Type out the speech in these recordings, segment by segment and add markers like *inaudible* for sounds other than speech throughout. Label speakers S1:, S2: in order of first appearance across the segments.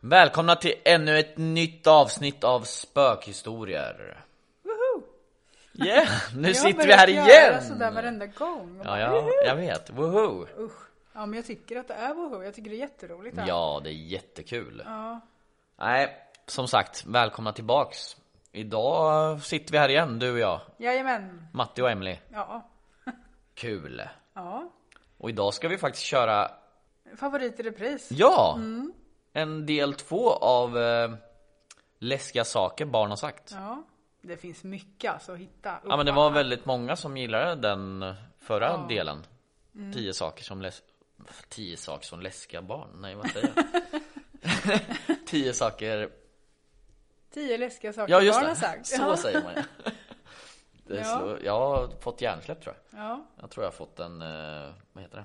S1: Välkomna till ännu ett nytt avsnitt av spökhistorier.
S2: *laughs*
S1: Yeah, nu sitter vi här
S2: Jag börjar göra
S1: igen!
S2: sådär varenda gång.
S1: Ja, ja, jag vet. Woohoo!
S2: Usch. Ja, men jag tycker att det är woho. Jag tycker det är jätteroligt. här.
S1: Ja, det är jättekul.
S2: ja.
S1: Nej, som sagt, välkomna tillbaks. Idag sitter vi här igen, du och jag.
S2: Jajamän.
S1: Matti och Emily.
S2: Ja.
S1: Kul.
S2: Ja.
S1: Och idag ska vi faktiskt köra,
S2: Favorit i repris.
S1: ja!
S2: Mm.
S1: En del två av eh, läskiga saker barn har sagt.
S2: Ja. Det finns mycket alltså att hitta.
S1: Ja men det var väldigt många som gillade den förra delen.
S2: Mm.
S1: Tio saker som läs... Tio saker som läskiga barn? Nej vad säger jag?
S2: *laughs*
S1: Tio saker...
S2: Tio läskiga saker
S1: Ja just
S2: barn har
S1: det,
S2: sagt.
S1: så
S2: ja.
S1: säger man ja. det är
S2: Ja.
S1: så... Jag har fått hjärnsläpp tror jag.
S2: Ja.
S1: Jag tror jag har fått en, eh, vad heter det?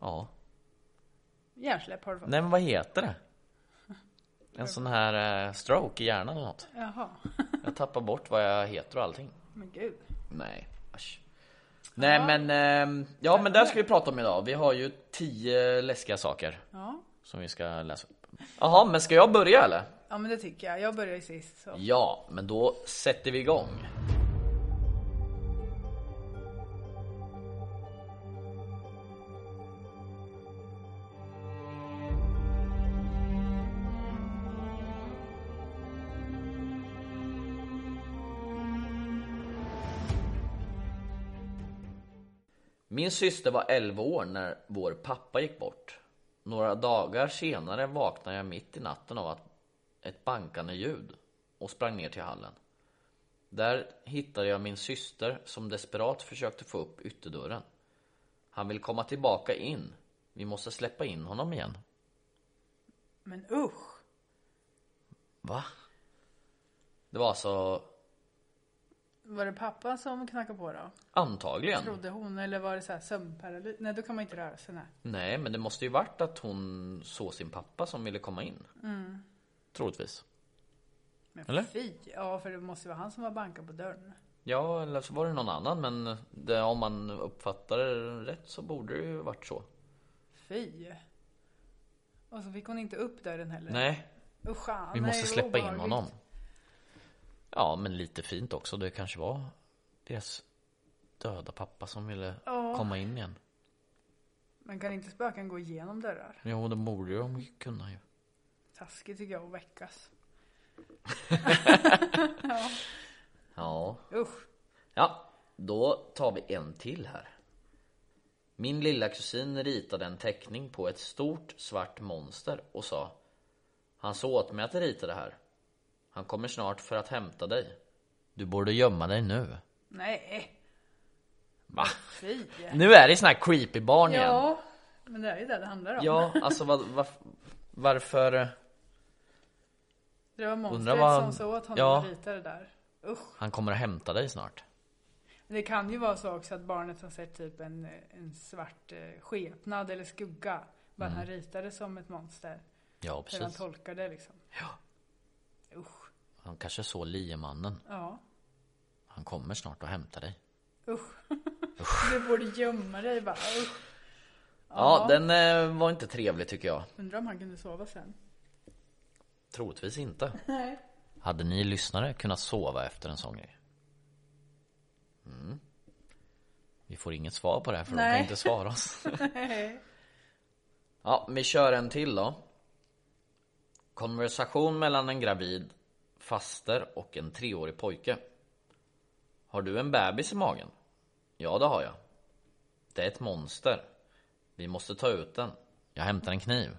S1: Ja.
S2: Hjärnsläpp har du fått.
S1: Nej men vad heter det? En sån här eh, stroke i hjärnan eller något.
S2: Jaha.
S1: Jag tappar bort vad jag heter och allting.
S2: Men gud.
S1: Nej, asch. Nej men, ehm, ja men där ska vi prata om idag. Vi har ju tio läskiga saker
S2: Ja.
S1: som vi ska läsa upp. Jaha, men ska jag börja eller?
S2: Ja men det tycker jag. Jag börjar ju sist. Så.
S1: Ja, men då sätter vi igång. Min syster var 11 år när vår pappa gick bort. Några dagar senare vaknade jag mitt i natten av att ett bankande ljud och sprang ner till hallen. Där hittade jag min syster som desperat försökte få upp ytterdörren. Han vill komma tillbaka in. Vi måste släppa in honom igen.
S2: Men usch.
S1: Va? Det var alltså
S2: Var det pappa som knackade på då?
S1: antagligen.
S2: Trodde hon eller var det så här sömnparalys? Nej då kan man inte röra sig. Nej.
S1: Nej, men det måste ju varit att hon såg sin pappa som ville komma in. Troligtvis.
S2: Men
S1: Eller?
S2: fy, ja för det måste ju vara han som var bankat på dörren.
S1: Ja, eller så var det någon annan, men det, om man uppfattar det rätt så borde det ju varit så.
S2: Fy. Och så fick hon inte upp dörren heller.
S1: Nej,
S2: Usch, fan,
S1: Vi
S2: nej,
S1: måste
S2: vad
S1: släppa in
S2: obehagligt.
S1: honom. Ja, men lite fint också. Det kanske var deras döda pappa som ville komma in igen.
S2: Men kan inte spöken gå igenom dörrar?
S1: Jo, det borde ju de kunna ju.
S2: Taskigt tycker jag att väckas.
S1: Ja.
S2: Usch.
S1: Ja, då tar vi en till här. Min lilla kusin ritade en teckning på ett stort svart monster och sa Han sa åt mig att rita det här. Han kommer snart för att hämta dig. Du borde gömma dig nu.
S2: Nej,
S1: Va?
S2: fy.
S1: Nu är det såna här creepy barn igen.
S2: Ja, men
S1: alltså,
S2: det är ju det det handlar om.
S1: eh, Ja, alltså vad- varf- varför?
S2: Det var
S1: Undrar
S2: monstret
S1: vad-
S2: som sa åt honom
S1: Ja.
S2: att rita det där. Usch.
S1: Han kommer att hämta dig snart.
S2: Men det kan ju vara så också att barnet har sett typ en, en svart eh, skepnad eller skugga. Bara han ritade som ett monster.
S1: Ja,
S2: Hur han
S1: Mm. precis.
S2: tolkar det liksom.
S1: Ja.
S2: Usch.
S1: Han kanske såg liemannen.
S2: Ja.
S1: Han kommer snart och hämtar dig.
S2: Usch. Du borde gömma dig bara. Usch.
S1: Ja, den eh, var inte trevlig tycker jag.
S2: Undrar om han kunde sova sen.
S1: Troligtvis inte. Hade ni lyssnare kunnat sova efter en sån grej? Mm. Vi får inget svar på det här för de
S2: Nej.
S1: kan inte svara
S2: *laughs*
S1: oss. ja, vi kör en till då. Konversation mellan en gravid faster och en treårig pojke. Har du en bebis i magen? Ja, det har jag. Det är ett monster. Vi måste ta ut den. Jag hämtar en
S2: *laughs*
S1: kniv.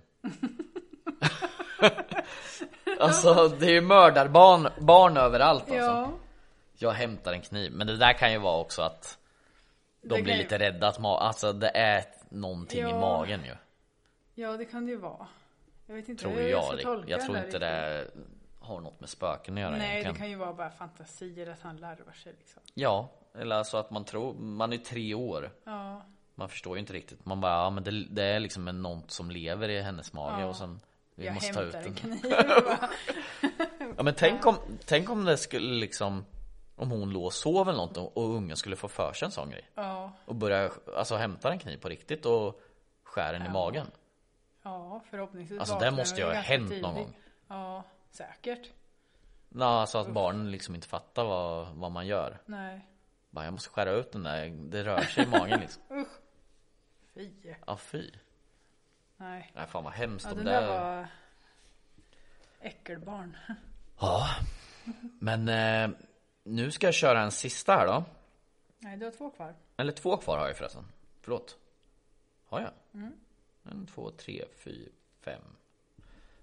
S1: Alltså det är ju mördarbarn barn överallt alltså.
S2: Ja.
S1: Jag hämtar en kniv. Men det där kan ju vara också att
S2: Det
S1: de
S2: kan
S1: blir
S2: ju-
S1: lite rädda att ma- alltså det är ett- någonting i
S2: Ja.
S1: magen ju.
S2: Ja, det kan det ju vara. Jag vet inte
S1: Tror
S2: hur
S1: jag.
S2: jag ska
S1: Jag,
S2: tolka
S1: jag
S2: den
S1: tror
S2: där
S1: inte
S2: riktigt.
S1: det har något med spöken att göra
S2: Nej, det
S1: egentligen.
S2: kan ju vara bara fantasier att han larvar sig liksom.
S1: Ja, eller alltså att man tror, man är tre år.
S2: Ja.
S1: Man förstår ju inte riktigt. Man bara, ja men det, det är liksom en- något som lever i hennes mage och sen vi
S2: jag
S1: måste ta
S2: hämtar
S1: ut den.
S2: en kniv. bara.
S1: *laughs* Ja men tänk om, tänk om det skulle liksom Om hon låg och sov eller något och och ungen skulle få för sig en sån grej
S2: ja,
S1: Och börja, alltså hämta en kniv på riktigt och skär den i magen
S2: ja, förhoppningsvis
S1: Alltså, det
S2: vaknar
S1: måste
S2: den
S1: ju ha
S2: ganska
S1: hänt någon gång.
S2: Ja, säkert.
S1: Nå, alltså att barnen liksom inte fattar vad, vad man gör
S2: Nej,
S1: Bara, Jag måste skära ut den där, det rör sig i magen
S2: *laughs*
S1: liksom
S2: fy.
S1: Ja fy
S2: Nej.
S1: Nej fan vad hemskt
S2: Ja,
S1: om
S2: den
S1: det
S2: där var äckelbarn.
S1: Ja Men eh, nu ska jag köra en sista här då
S2: Nej, du har två kvar.
S1: Eller två kvar har jag förresten. Förlåt. Har jag? En, två, tre, fyra, fem.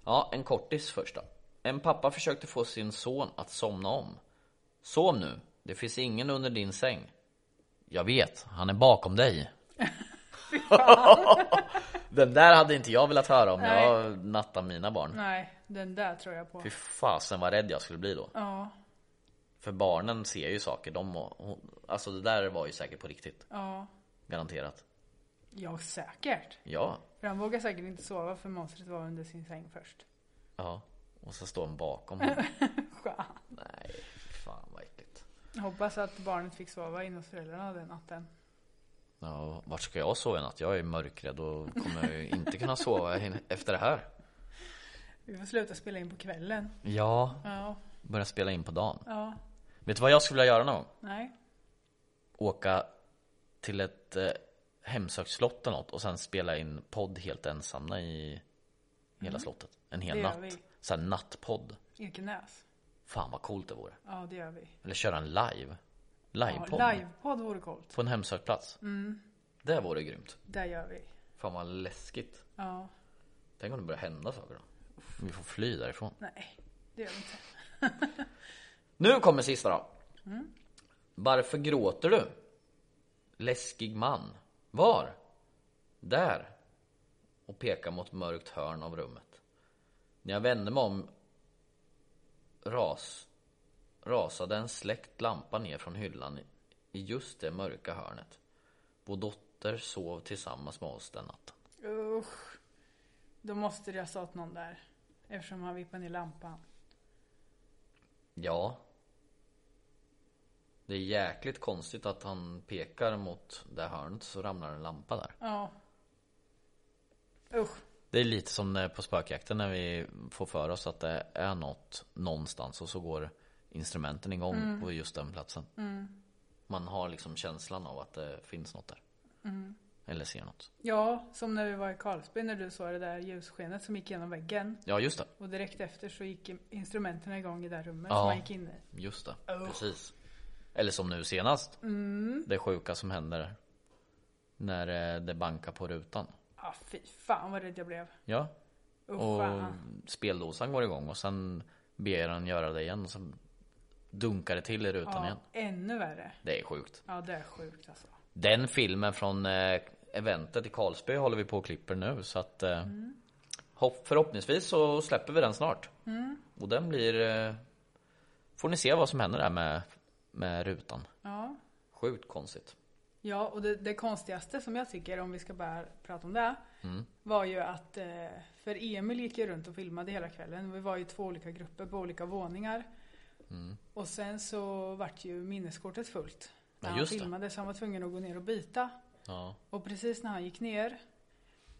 S1: Ja, en kortis först då. En pappa försökte få sin son att somna om. Sov nu. Det finns ingen under din säng. Jag vet, han är bakom dig. *laughs* Den där hade inte jag velat höra om jag nattade mina barn.
S2: Nej, den där tror jag på.
S1: Fy fasen vad rädd jag skulle bli då.
S2: Ja,
S1: För barnen ser ju saker. De, och- och- alltså det där var ju säkert på riktigt.
S2: ja,
S1: Garanterat.
S2: ja säkert.
S1: Ja,
S2: För han vågar säkert inte sova för monstret var under sin säng först.
S1: Ja, och så står hon bakom
S2: *laughs*
S1: honom.
S2: Skönt.
S1: Nej, fan vad äckligt.
S2: Hoppas att barnet fick sova inne hos föräldrarna den natten.
S1: Ja, vart ska jag sova i natt? Jag är mörkrädd och kommer ju inte kunna sova *laughs* in- efter det här.
S2: Vi får sluta spela in på kvällen.
S1: Ja,
S2: Ja,
S1: börja spela in på dagen.
S2: ja,
S1: Vet du vad jag skulle vilja göra någon gång?
S2: nej.
S1: Åka till ett eh, hemsökt slott eller något och sen spela in podd helt ensamma i hela slottet. En hel
S2: Mm. Det gör
S1: natt.
S2: vi.
S1: Så här nattpodd.
S2: Ekenäs.
S1: Fan vad coolt det vore.
S2: Ja, det gör vi.
S1: Eller köra en live.
S2: Ja, Mm.
S1: Livepodd.
S2: Livepodd vore coolt.
S1: På en hemsökt plats. Det vore grymt.
S2: Det gör vi.
S1: Fan vad läskigt.
S2: Ja,
S1: Tänk om det börjar hända saker då? Vi får fly därifrån.
S2: nej. Det gör vi inte.
S1: Nu kommer sista då. Varför gråter du? Läskig man. Var? Där. Och pekar mot mörkt hörn av rummet. När jag vände mig om ras, rasade en släckt lampa ner från hyllan i- i just det mörka hörnet. Vår dotter sov tillsammans med oss den natten.
S2: Usch. Då måste det ha stått någon där. Eftersom han vippade ner lampan.
S1: Ja. Det är jäkligt konstigt att han pekar mot det hörnet så ramlar en lampa där.
S2: Ja. Usch.
S1: Det är lite som när- på spökjakten när vi får för oss att det är något någonstans och så går instrumenten igång på just den platsen. Man har liksom känslan av att det finns något där. Eller ser något.
S2: Ja, som när vi var i Karlsby när du såg det där ljusskenet som gick genom väggen.
S1: Ja just det.
S2: Och direkt efter så gick instrumenten igång i det här rummet
S1: Ja.
S2: som han gick in i.
S1: Just det. Precis. Eller som nu senast. Det sjuka som händer när eh, det bankar på rutan.
S2: Ja, ah, fy fan vad rädd jag blev.
S1: Ja,
S2: Usch,
S1: Och
S2: fan.
S1: speldosan går igång och sen ber han göra det igen och sen dunkar det till i rutan igen.
S2: Ännu värre.
S1: Det är sjukt.
S2: Ja, det är sjukt alltså. Mm.
S1: Den filmen från eh, eventet i Karlsby håller vi på och klipper nu så att eh, Hopp, förhoppningsvis så släpper vi den snart.
S2: Mm.
S1: Och den blir... eh, Får ni se vad som händer där med, med rutan.
S2: Ja.
S1: Sjukt konstigt.
S2: Ja, och det, det konstigaste som jag tycker, om vi ska bara prata om det,
S1: Mm.
S2: var ju att eh, för Emil gick ju runt och filmade hela kvällen. Vi var ju två olika grupper på olika våningar. Och sen så vart ju minneskortet fullt.
S1: Mm. Ja,
S2: När han
S1: just det.
S2: filmade så han var tvungen att gå ner och byta.
S1: Ja.
S2: Och precis när han gick ner,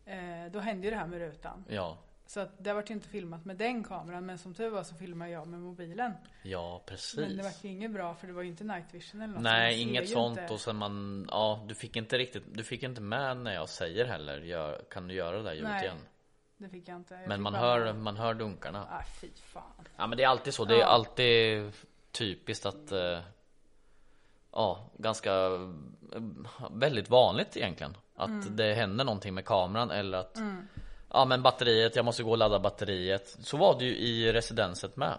S2: eh, då hände ju det här med rutan.
S1: Ja,
S2: Så att det vart ju inte filmat med den kameran, men som tur var så filmade jag med mobilen.
S1: ja
S2: Men det
S1: precis.
S2: vart ju inget bra för det var ju inte night vision eller något. så man
S1: Nej,
S2: ser
S1: inget
S2: ju
S1: sånt
S2: inte.
S1: och sen man... Ja, du fick inte riktigt... Du fick inte med när jag säger heller. Gör, kan du göra det där ljudet
S2: Nej,
S1: igen?
S2: Det fick jag inte. Jag
S1: Men
S2: fick
S1: man
S2: bara-
S1: hör, man hör dunkarna.
S2: Ah, fy fan.
S1: Ja men det är alltid så, det är alltid typiskt att eh, Ja, ganska eh, Väldigt vanligt egentligen Att
S2: Mm.
S1: det händer någonting med kameran eller att Ja men batteriet, jag måste gå och ladda batteriet Så var det ju i residenset med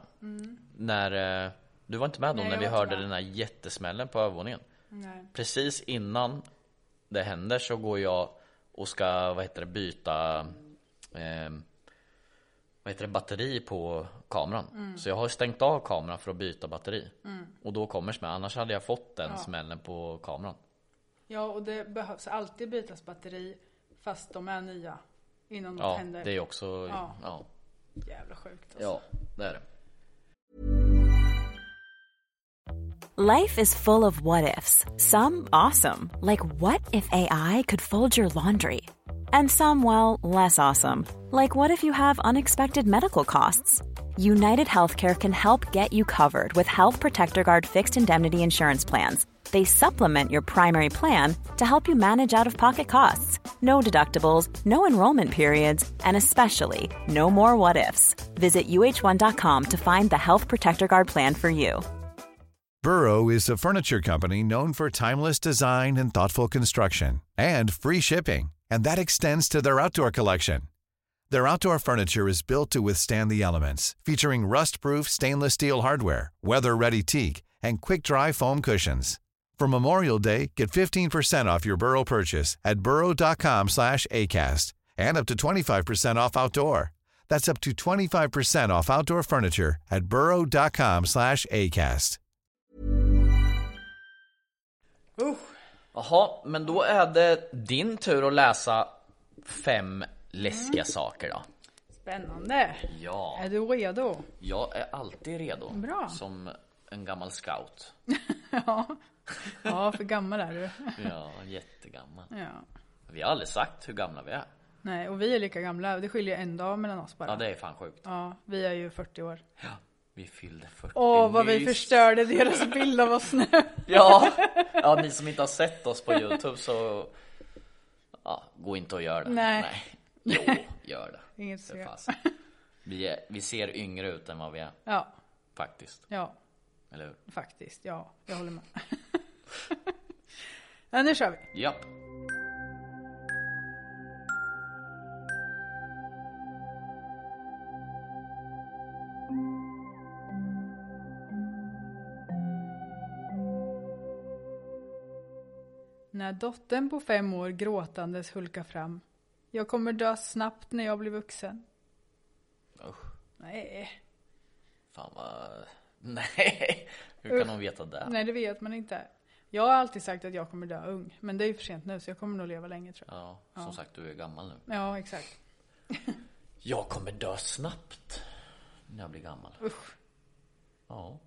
S1: När eh, Du var inte med då
S2: Mm. Nej,
S1: när
S2: jag
S1: vi
S2: var inte
S1: hörde
S2: med.
S1: den här jättesmällen på övervåningen
S2: Nej.
S1: Precis innan det händer så går jag och ska, vad heter det, byta eh, vad heter det, batteri på kameran.
S2: Mm.
S1: Så jag har stängt av kameran för att byta batteri. Och då kommer smällen, annars hade jag fått den smällen på kameran.
S2: Ja, och det behövs alltid bytas batteri fast de är nya. Innan något
S1: Ja,
S2: händer.
S1: det är också, ja.
S2: Ja.
S1: ja.
S2: Jävla sjukt alltså.
S1: Ja, det är det.
S3: Life is full of what ifs. Some awesome, like what if AI could fold your laundry? And some, well, less awesome, like what if you have unexpected medical costs? United Healthcare can help get you covered with Health Protector Guard fixed indemnity insurance plans. They supplement your primary plan to help you manage out of pocket costs. No deductibles, no enrollment periods, and especially no more what ifs. Visit uh1.com to find the Health Protector Guard plan for you.
S4: Burrow is a furniture company known for timeless design and thoughtful construction and free shipping, and that extends to their outdoor collection. Their outdoor furniture is built to withstand the elements, featuring rust-proof stainless steel hardware, weather-ready teak, and quick-dry foam cushions. For Memorial Day, get 15% off your Burrow purchase at burrow.com/acast and up to 25% off outdoor. That's up to 25% off outdoor furniture at burrow.com/acast.
S2: Usch.
S1: Jaha, men då är det din tur att läsa fem läskiga saker då.
S2: Spännande.
S1: Ja.
S2: Mm. Är du redo? *laughs*
S1: Jag är alltid redo.
S2: Bra.
S1: Som en gammal scout.
S2: *laughs* ja. Ja, för gammal är du.
S1: Ja, jättegammal.
S2: Ja.
S1: Vi har aldrig sagt hur gamla vi är.
S2: Nej, och vi är lika gamla. Det skiljer en dag mellan oss bara.
S1: Ja, det är fan sjukt.
S2: Ja, vi är ju 40 år.
S1: Vi fyllde 40
S2: Åh, vad vi
S1: nyss.
S2: förstörde deras bild av
S1: *laughs*
S2: oss nu.
S1: Ja.
S2: *laughs*
S1: ja, ni som inte har sett oss på Youtube så ja, gå inte och gör det.
S2: Nej.
S1: Jo, gör
S2: *laughs*
S1: det.
S2: Inget
S1: För
S2: ser.
S1: fasen. Vi, är, vi ser yngre ut än vad vi är
S2: Ja,
S1: faktiskt.
S2: ja.
S1: Eller hur?
S2: Faktiskt, ja. Jag håller med. *laughs* ja, nu kör vi.
S1: Japp.
S2: När dottern på fem år gråtandes hulkar fram. Jag kommer dö snabbt när jag blir vuxen.
S1: Usch.
S2: Nej,
S1: Fan vad... *laughs* Nej. Hur kan hon veta det?
S2: nej det vet man inte. Jag har alltid sagt att jag kommer dö ung, men det är ju för sent nu så jag kommer nog leva länge tror jag.
S1: Ja, som sagt, du är gammal nu.
S2: Ja, exakt.
S1: Jag kommer dö snabbt när jag blir gammal.
S2: Usch.
S1: Ja,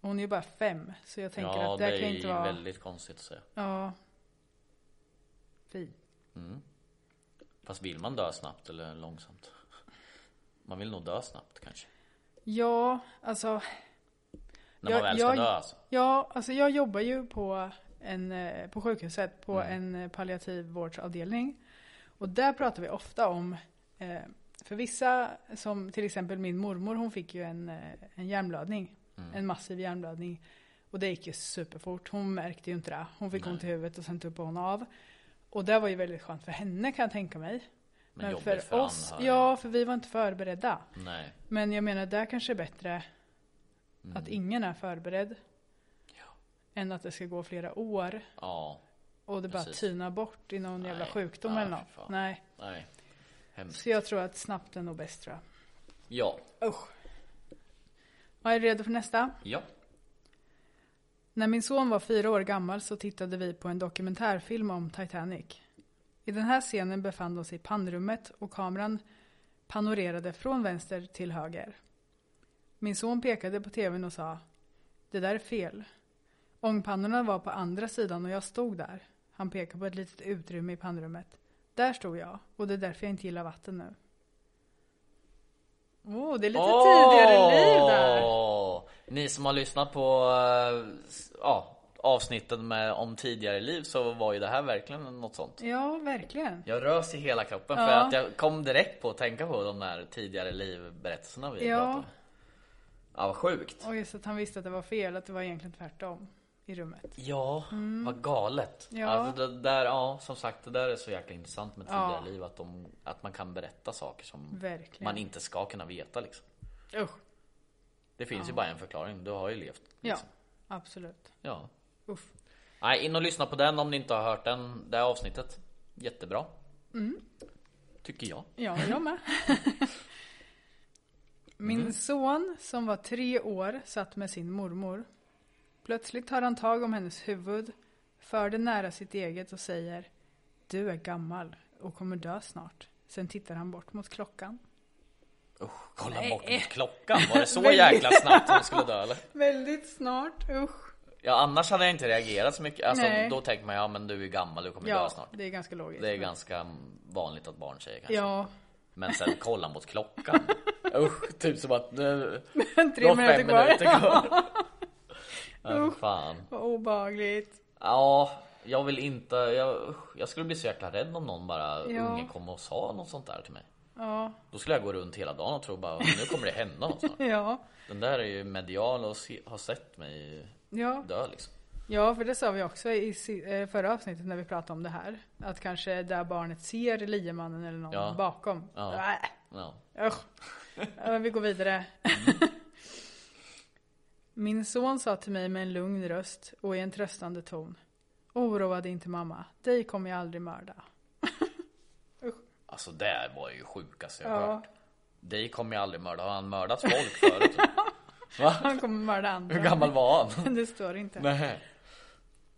S2: Hon är ju bara fem, så jag tänker
S1: ja
S2: att det,
S1: det,
S2: kan
S1: är
S2: inte vara...
S1: väldigt konstigt att säga.
S2: Ja. Fy.
S1: Fast vill man dö snabbt eller långsamt? Man vill nog dö snabbt kanske.
S2: Ja, alltså.
S1: När man väl ska dö alltså.
S2: Ja, alltså jag jobbar ju på, en, eh, på sjukhuset på
S1: Mm.
S2: en eh, palliativvårdsavdelning. Och där pratar vi ofta om, eh, för vissa, som till exempel min mormor, hon fick ju en, eh, en hjärnblödning.
S1: Mm.
S2: En massiv hjärnblödning. Och det gick ju superfort. Hon märkte ju inte det. Hon fick ont i huvudet och sen tuppade hon av. Och det var ju väldigt skönt för henne kan jag tänka mig.
S1: Men jobbigt för
S2: oss,
S1: anhöriga.
S2: ja för vi var inte förberedda.
S1: Nej.
S2: Men jag menar, där kanske är bättre att
S1: Mm.
S2: ingen är förberedd. Än att det ska gå flera år
S1: Ja.
S2: och det bara
S1: Precis.
S2: tynar bort i någon jävla
S1: Nej.
S2: sjukdom
S1: Ja,
S2: eller
S1: fy
S2: något.
S1: fan.
S2: Nej.
S1: Nej. Hemskt.
S2: Så jag tror att snabbt är nog bäst tror
S1: Ja,
S2: jag. Usch. Ja, är du redo för nästa?
S1: ja.
S2: När min son var fyra år gammal så tittade vi på en dokumentärfilm om Titanic. I den här scenen befann de sig i pannrummet och kameran panorerade från vänster till höger. Min son pekade på tvn och sa Det där är fel. Ångpannorna var på andra sidan och jag stod där. Han pekade på ett litet utrymme i pannrummet. Där stod jag och det är därför jag inte gillar vatten nu. Åh, oh, det är lite tidigare liv där.
S1: Åh! Ni som har lyssnat på eh, s- ja, avsnittet med, om tidigare liv så var ju det här verkligen något sånt.
S2: Ja, verkligen.
S1: Jag rös i hela kroppen för
S2: Ja.
S1: att jag kom direkt på att tänka på de där tidigare livberättelserna vi
S2: Ja.
S1: pratade om. Ja, vad sjukt.
S2: Och just att han visste att det var fel, att det var egentligen tvärtom i rummet.
S1: Ja, vad galet.
S2: Mm. Ja.
S1: Alltså det där, ja, som sagt, det där är så jäkla intressant med tidigare
S2: Ja.
S1: liv. Att, de, att man kan berätta saker som
S2: Verkligen.
S1: man inte ska kunna veta. Liksom.
S2: Usch.
S1: Det finns ju bara en förklaring. Du har ju levt.
S2: Ja,
S1: Liksom.
S2: absolut.
S1: Ja.
S2: Uff.
S1: Nej, in och lyssna på den om ni inte har hört den, det här avsnittet. Jättebra.
S2: Mm.
S1: Tycker jag.
S2: Ja, jag med. *laughs* Min
S1: Mm.
S2: son som var tre år satt med sin mormor. Plötsligt tar han tag om hennes huvud, för det nära sitt eget och säger Du är gammal och kommer dö snart. Sen tittar han bort mot klockan.
S1: Usch, kolla bort mot klockan. Var det
S2: *laughs*
S1: så jäkla snabbt hon skulle dö eller?
S2: Väldigt snart, usch.
S1: Ja, annars hade jag inte reagerat så mycket. Alltså,
S2: Nej.
S1: då tänker man ja, men du är gammal, du kommer dö
S2: Ja,
S1: snart.
S2: det är ganska logiskt.
S1: Det är
S2: men-
S1: ganska alltså. vanligt att barn säger kanske.
S2: Ja,
S1: Men sen kolla mot klockan. *laughs* Usch, typ som att nu...
S2: *laughs* Tre
S1: du har
S2: minuter
S1: fem
S2: kvar. *laughs*
S1: minuter kvar. Ja, fan.
S2: vad obehagligt.
S1: Ja, jag vill inte... Jag, usch, jag skulle bli så jäkla rädd om någon bara
S2: Ja.
S1: ungen kom och sa något sånt där till mig.
S2: Ja,
S1: Då skulle jag gå runt hela dagen och tro bara nu kommer det hända något snart.
S2: ja,
S1: Den där är ju medial och se, har sett mig
S2: ja.
S1: dö liksom.
S2: Ja, för det sa vi också i si- eh, förra avsnittet när vi pratade om det här. Att kanske där barnet ser liemannen eller någon
S1: Ja.
S2: bakom.
S1: Ja.
S2: Äh,
S1: Ja.
S2: usch. Ja, vi går vidare.
S1: Mm.
S2: *laughs* Min son sa till mig med en lugn röst och i en tröstande ton. Oroa dig inte mamma, dig kommer jag aldrig mörda.
S1: Alltså det var ju sjukaste jag
S2: Ja.
S1: hört. Dig kommer jag aldrig mörda. Har han mördat folk
S2: *laughs*
S1: förut? Va?
S2: Han kommer mörda andra.
S1: Hur gammal var han?
S2: *laughs* Det står inte.
S1: Nej.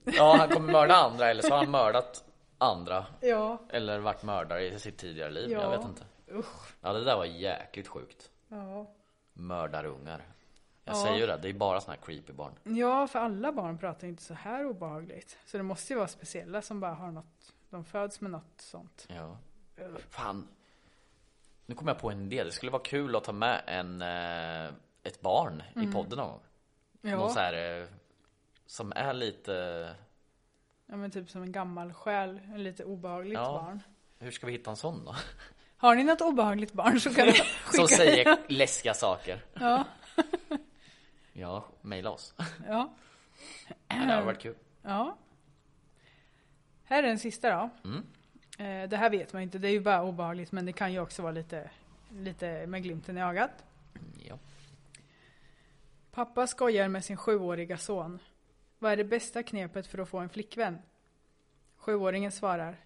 S1: Ja, han kommer mörda andra eller så har han mördat andra.
S2: Ja,
S1: Eller varit mördare i sitt tidigare liv.
S2: Ja.
S1: Jag vet inte.
S2: usch.
S1: Ja, det där var jäkligt sjukt.
S2: Ja.
S1: Mördarungar. Jag säger ju det, det är bara såna här creepy barn.
S2: ja, för alla barn pratar ju inte så här obehagligt. Så det måste ju vara speciella som bara har något. De föds med något sånt.
S1: Ja. Fan. Nu kom jag på en idé. Det skulle vara kul att ta med en, eh, ett barn i podden någon gång.
S2: Mm. Ja.
S1: Någon så här eh, som är lite...
S2: Ja men typ som en gammal själ, en lite obehagligt
S1: Ja.
S2: barn.
S1: Hur ska vi hitta en sån då? *laughs*
S2: Har ni något obehagligt barn så kan ni skicka
S1: Som säger läskiga saker.
S2: Ja.
S1: Ja, mejla oss.
S2: *laughs* ja.
S1: Det
S2: Ehm.
S1: hade varit kul.
S2: ja. Här är den sista då.
S1: Mm.
S2: Eh, Det här vet man inte, det är ju bara obehagligt men det kan ju också vara lite, lite med glimten i ögat.
S1: Ja.
S2: Pappa skojar med sin sjuåriga son. Vad är det bästa knepet för att få en flickvän? Sjuåringen svarar.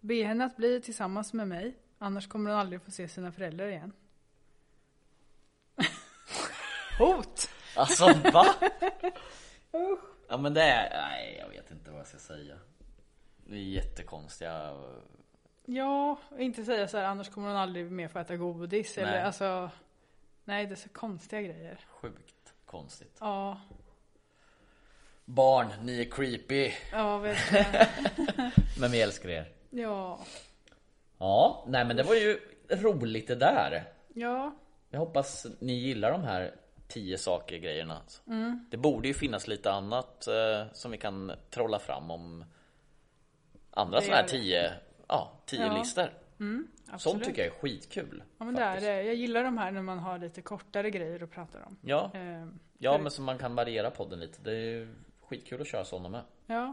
S2: Be henne att bli tillsammans med mig, annars kommer hon aldrig få se sina
S1: *laughs*
S2: föräldrar igen. Hot!
S1: *laughs* Alltså va? ja men det är, nej jag vet inte vad jag ska säga. Det är jättekonstiga,
S2: Ja, och inte säga så här, annars kommer hon aldrig mer få äta godis. Eller
S1: Nej.
S2: alltså, nej det är så konstiga grejer.
S1: sjukt konstigt.
S2: Ja,
S1: Barn, ni är creepy. *laughs*
S2: ja verkligen.
S1: Men vi älskar er.
S2: Ja,
S1: Ja, nej men det var ju roligt det där.
S2: ja,
S1: Jag hoppas ni gillar de här tio saker grejerna. Alltså.
S2: Mm.
S1: Det borde ju finnas lite annat eh, som vi kan trolla fram om andra
S2: Det
S1: sådana här
S2: gör det.
S1: tio, ja, tio
S2: Ja. Mm,
S1: listor. Sånt
S2: absolut.
S1: tycker jag är skitkul.
S2: Ja men det är
S1: faktiskt.
S2: det. Jag gillar de här när man har lite kortare grejer att prata om.
S1: Ja,
S2: Ehm,
S1: ja men så man kan variera podden lite. Det är ju skitkul att köra sådana med.
S2: Ja,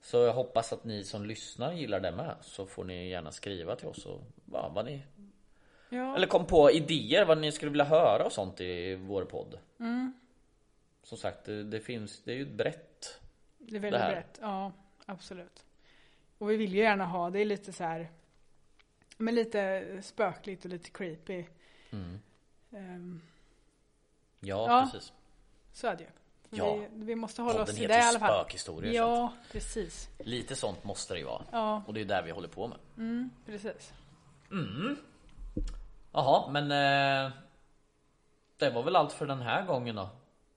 S1: Så jag hoppas att ni som lyssnar gillar det med. Så får ni gärna skriva till oss och ja, vad ni...
S2: ja.
S1: Eller kom på idéer vad ni skulle vilja höra och sånt i vår podd.
S2: Mm.
S1: Som sagt, det, det finns, det är ju ett brett.
S2: Det är väldigt
S1: det här.
S2: brett, ja absolut. Och vi vill ju gärna ha det i lite så här Men lite spökligt och lite creepy.
S1: Mm.
S2: Ehm,
S1: Ja,
S2: Ja.
S1: precis.
S2: så är det ju. Men
S1: Ja.
S2: Vi, vi måste hålla oss
S1: Podden
S2: till det
S1: heter
S2: i alla fall.
S1: Spökhistorier, så
S2: Ja, precis.
S1: Lite sånt måste det ju vara.
S2: Ja.
S1: Och det är där vi håller på med.
S2: Precis.
S1: Jaha, men eh, det var väl allt för den här gången då.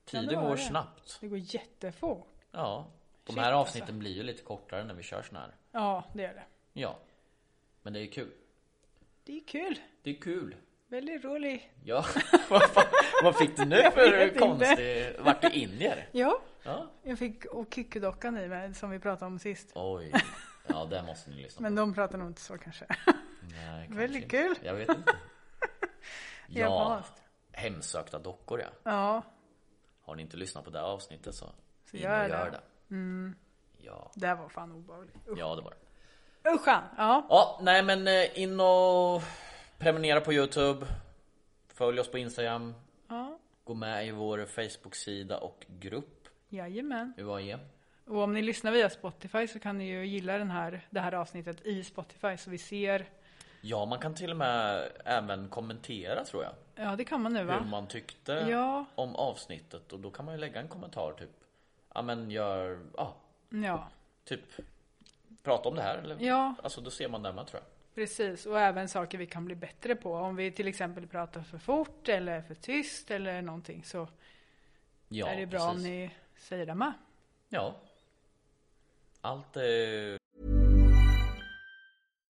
S1: Tiden
S2: det var
S1: går
S2: det.
S1: snabbt.
S2: Det går jättefort.
S1: Ja, de
S2: Shit,
S1: här
S2: alltså.
S1: avsnitten blir ju lite kortare när vi kör såna här.
S2: Ja, det gör det.
S1: Ja, men det är kul.
S2: Det är kul.
S1: Det är kul.
S2: Väldigt roligt.
S1: *laughs* Ja, vad, fan- vad fick du nu
S2: vet
S1: för
S2: inte.
S1: konstig... Vart du indier?
S2: Ja,
S1: Ja.
S2: jag fick och Kikudockan i mig som vi pratade om sist.
S1: Oj. Ja, det måste ni lyssna
S2: Men
S1: på.
S2: de pratar nog inte så kanske. *laughs*
S1: Nej, kanske
S2: väldigt
S1: inte.
S2: kul.
S1: Jag vet
S2: *laughs*
S1: inte. Ja,
S2: Japanskt.
S1: hemsökta dockor ja.
S2: Ja,
S1: Har ni inte lyssnat på det här avsnittet så, så
S2: gör det.
S1: gör det. Ja,
S2: det här var fan obehagligt. Usch.
S1: ja det var det.
S2: Uschan! Ja,
S1: Ja, nej men eh, in och prenumerera på Youtube Följ oss på Instagram Gå med i vår Facebook-sida och grupp
S2: jajamän.
S1: UAE
S2: Och om ni lyssnar via Spotify så kan ni ju gilla den här, det här avsnittet i Spotify så vi ser.
S1: Ja, man kan till och med även kommentera tror jag
S2: Ja, det kan man nu
S1: Hur
S2: va?
S1: man tyckte
S2: Ja.
S1: om avsnittet och då kan man ju lägga en kommentar typ Ja men gör, ja
S2: Ja,
S1: typ Prata om det här eller?
S2: Ja.
S1: Alltså då ser man där man tror jag
S2: precis. Och även saker vi kan bli bättre på. Om vi till exempel pratar för fort eller för tyst eller någonting så
S1: Ja,
S2: är det bra om ni säger det med.
S1: Ja Allt eh, är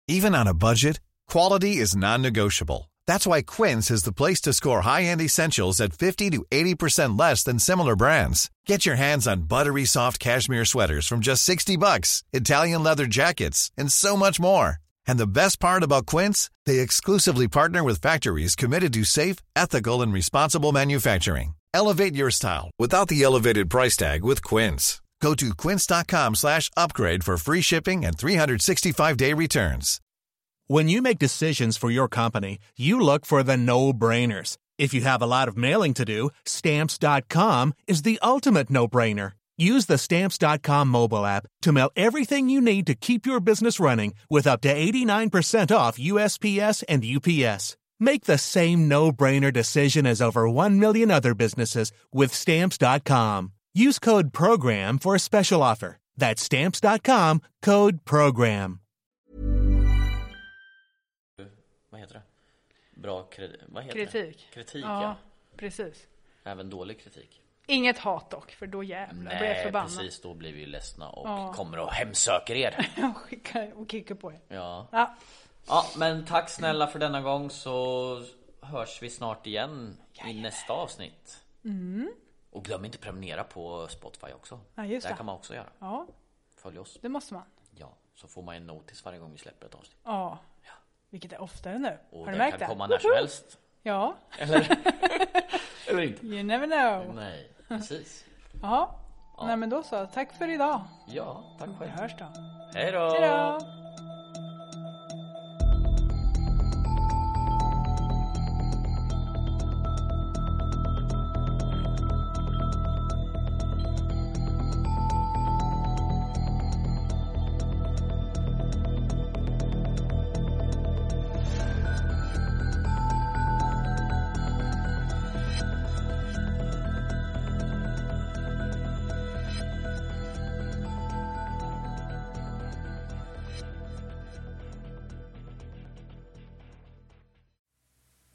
S4: Even on a budget, quality is non-negotiable. That's why Quince is the place to score high-end essentials at 50 to 80% less than similar brands. Get your hands on buttery soft cashmere sweaters from just 60 bucks, Italian leather jackets, and so much more. And the best part about Quince, they exclusively partner with factories committed to safe, ethical, and responsible manufacturing. Elevate your style without the elevated price tag with Quince. Go to quince.com slash upgrade for free shipping and 365-day returns.
S5: When you make decisions for your company, you look for the no brainers. If you have a lot of mailing to do, stamps.com is the ultimate no brainer. Use the stamps.com mobile app to mail everything you need to keep your business running with up to 89% off USPS and UPS. Make the same no brainer decision as over 1 million other businesses with stamps.com. Use code PROGRAM for a special offer. That's stamps.com code PROGRAM.
S1: vad heter det? Bra kred... vad heter
S2: Kritik.
S1: Det? Kritik ja.
S2: Ja, precis.
S1: Även dålig kritik.
S2: Inget hat dock, för då jävlar blir jag förbannad.
S1: precis då blir vi ju ledsna och kommer och hemsöker er.
S2: *laughs* Jag skickar och kickar på er.
S1: Ja.
S2: Ja,
S1: ja, men tack snälla för denna gång så hörs vi snart igen i nästa avsnitt. Och glöm inte prenumerera på Spotify också.
S2: Mm. Ja, just
S1: Där
S2: det.
S1: kan man också göra.
S2: ja,
S1: Följ oss.
S2: det måste man.
S1: Ja, så får man en notis varje gång vi släpper ett avsnitt.
S2: Ja, vilket är oftare nu.
S1: Och
S2: Har du
S1: den kan
S2: märkt det?
S1: komma när som helst.
S2: *laughs* Ja,
S1: Eller inte.
S2: you never know.
S1: Nej, precis.
S2: Ja, nej men då så. Tack för idag.
S1: Ja, tack
S2: Vi
S1: själv.
S2: hörs då.
S1: Hej då!
S2: Hej då!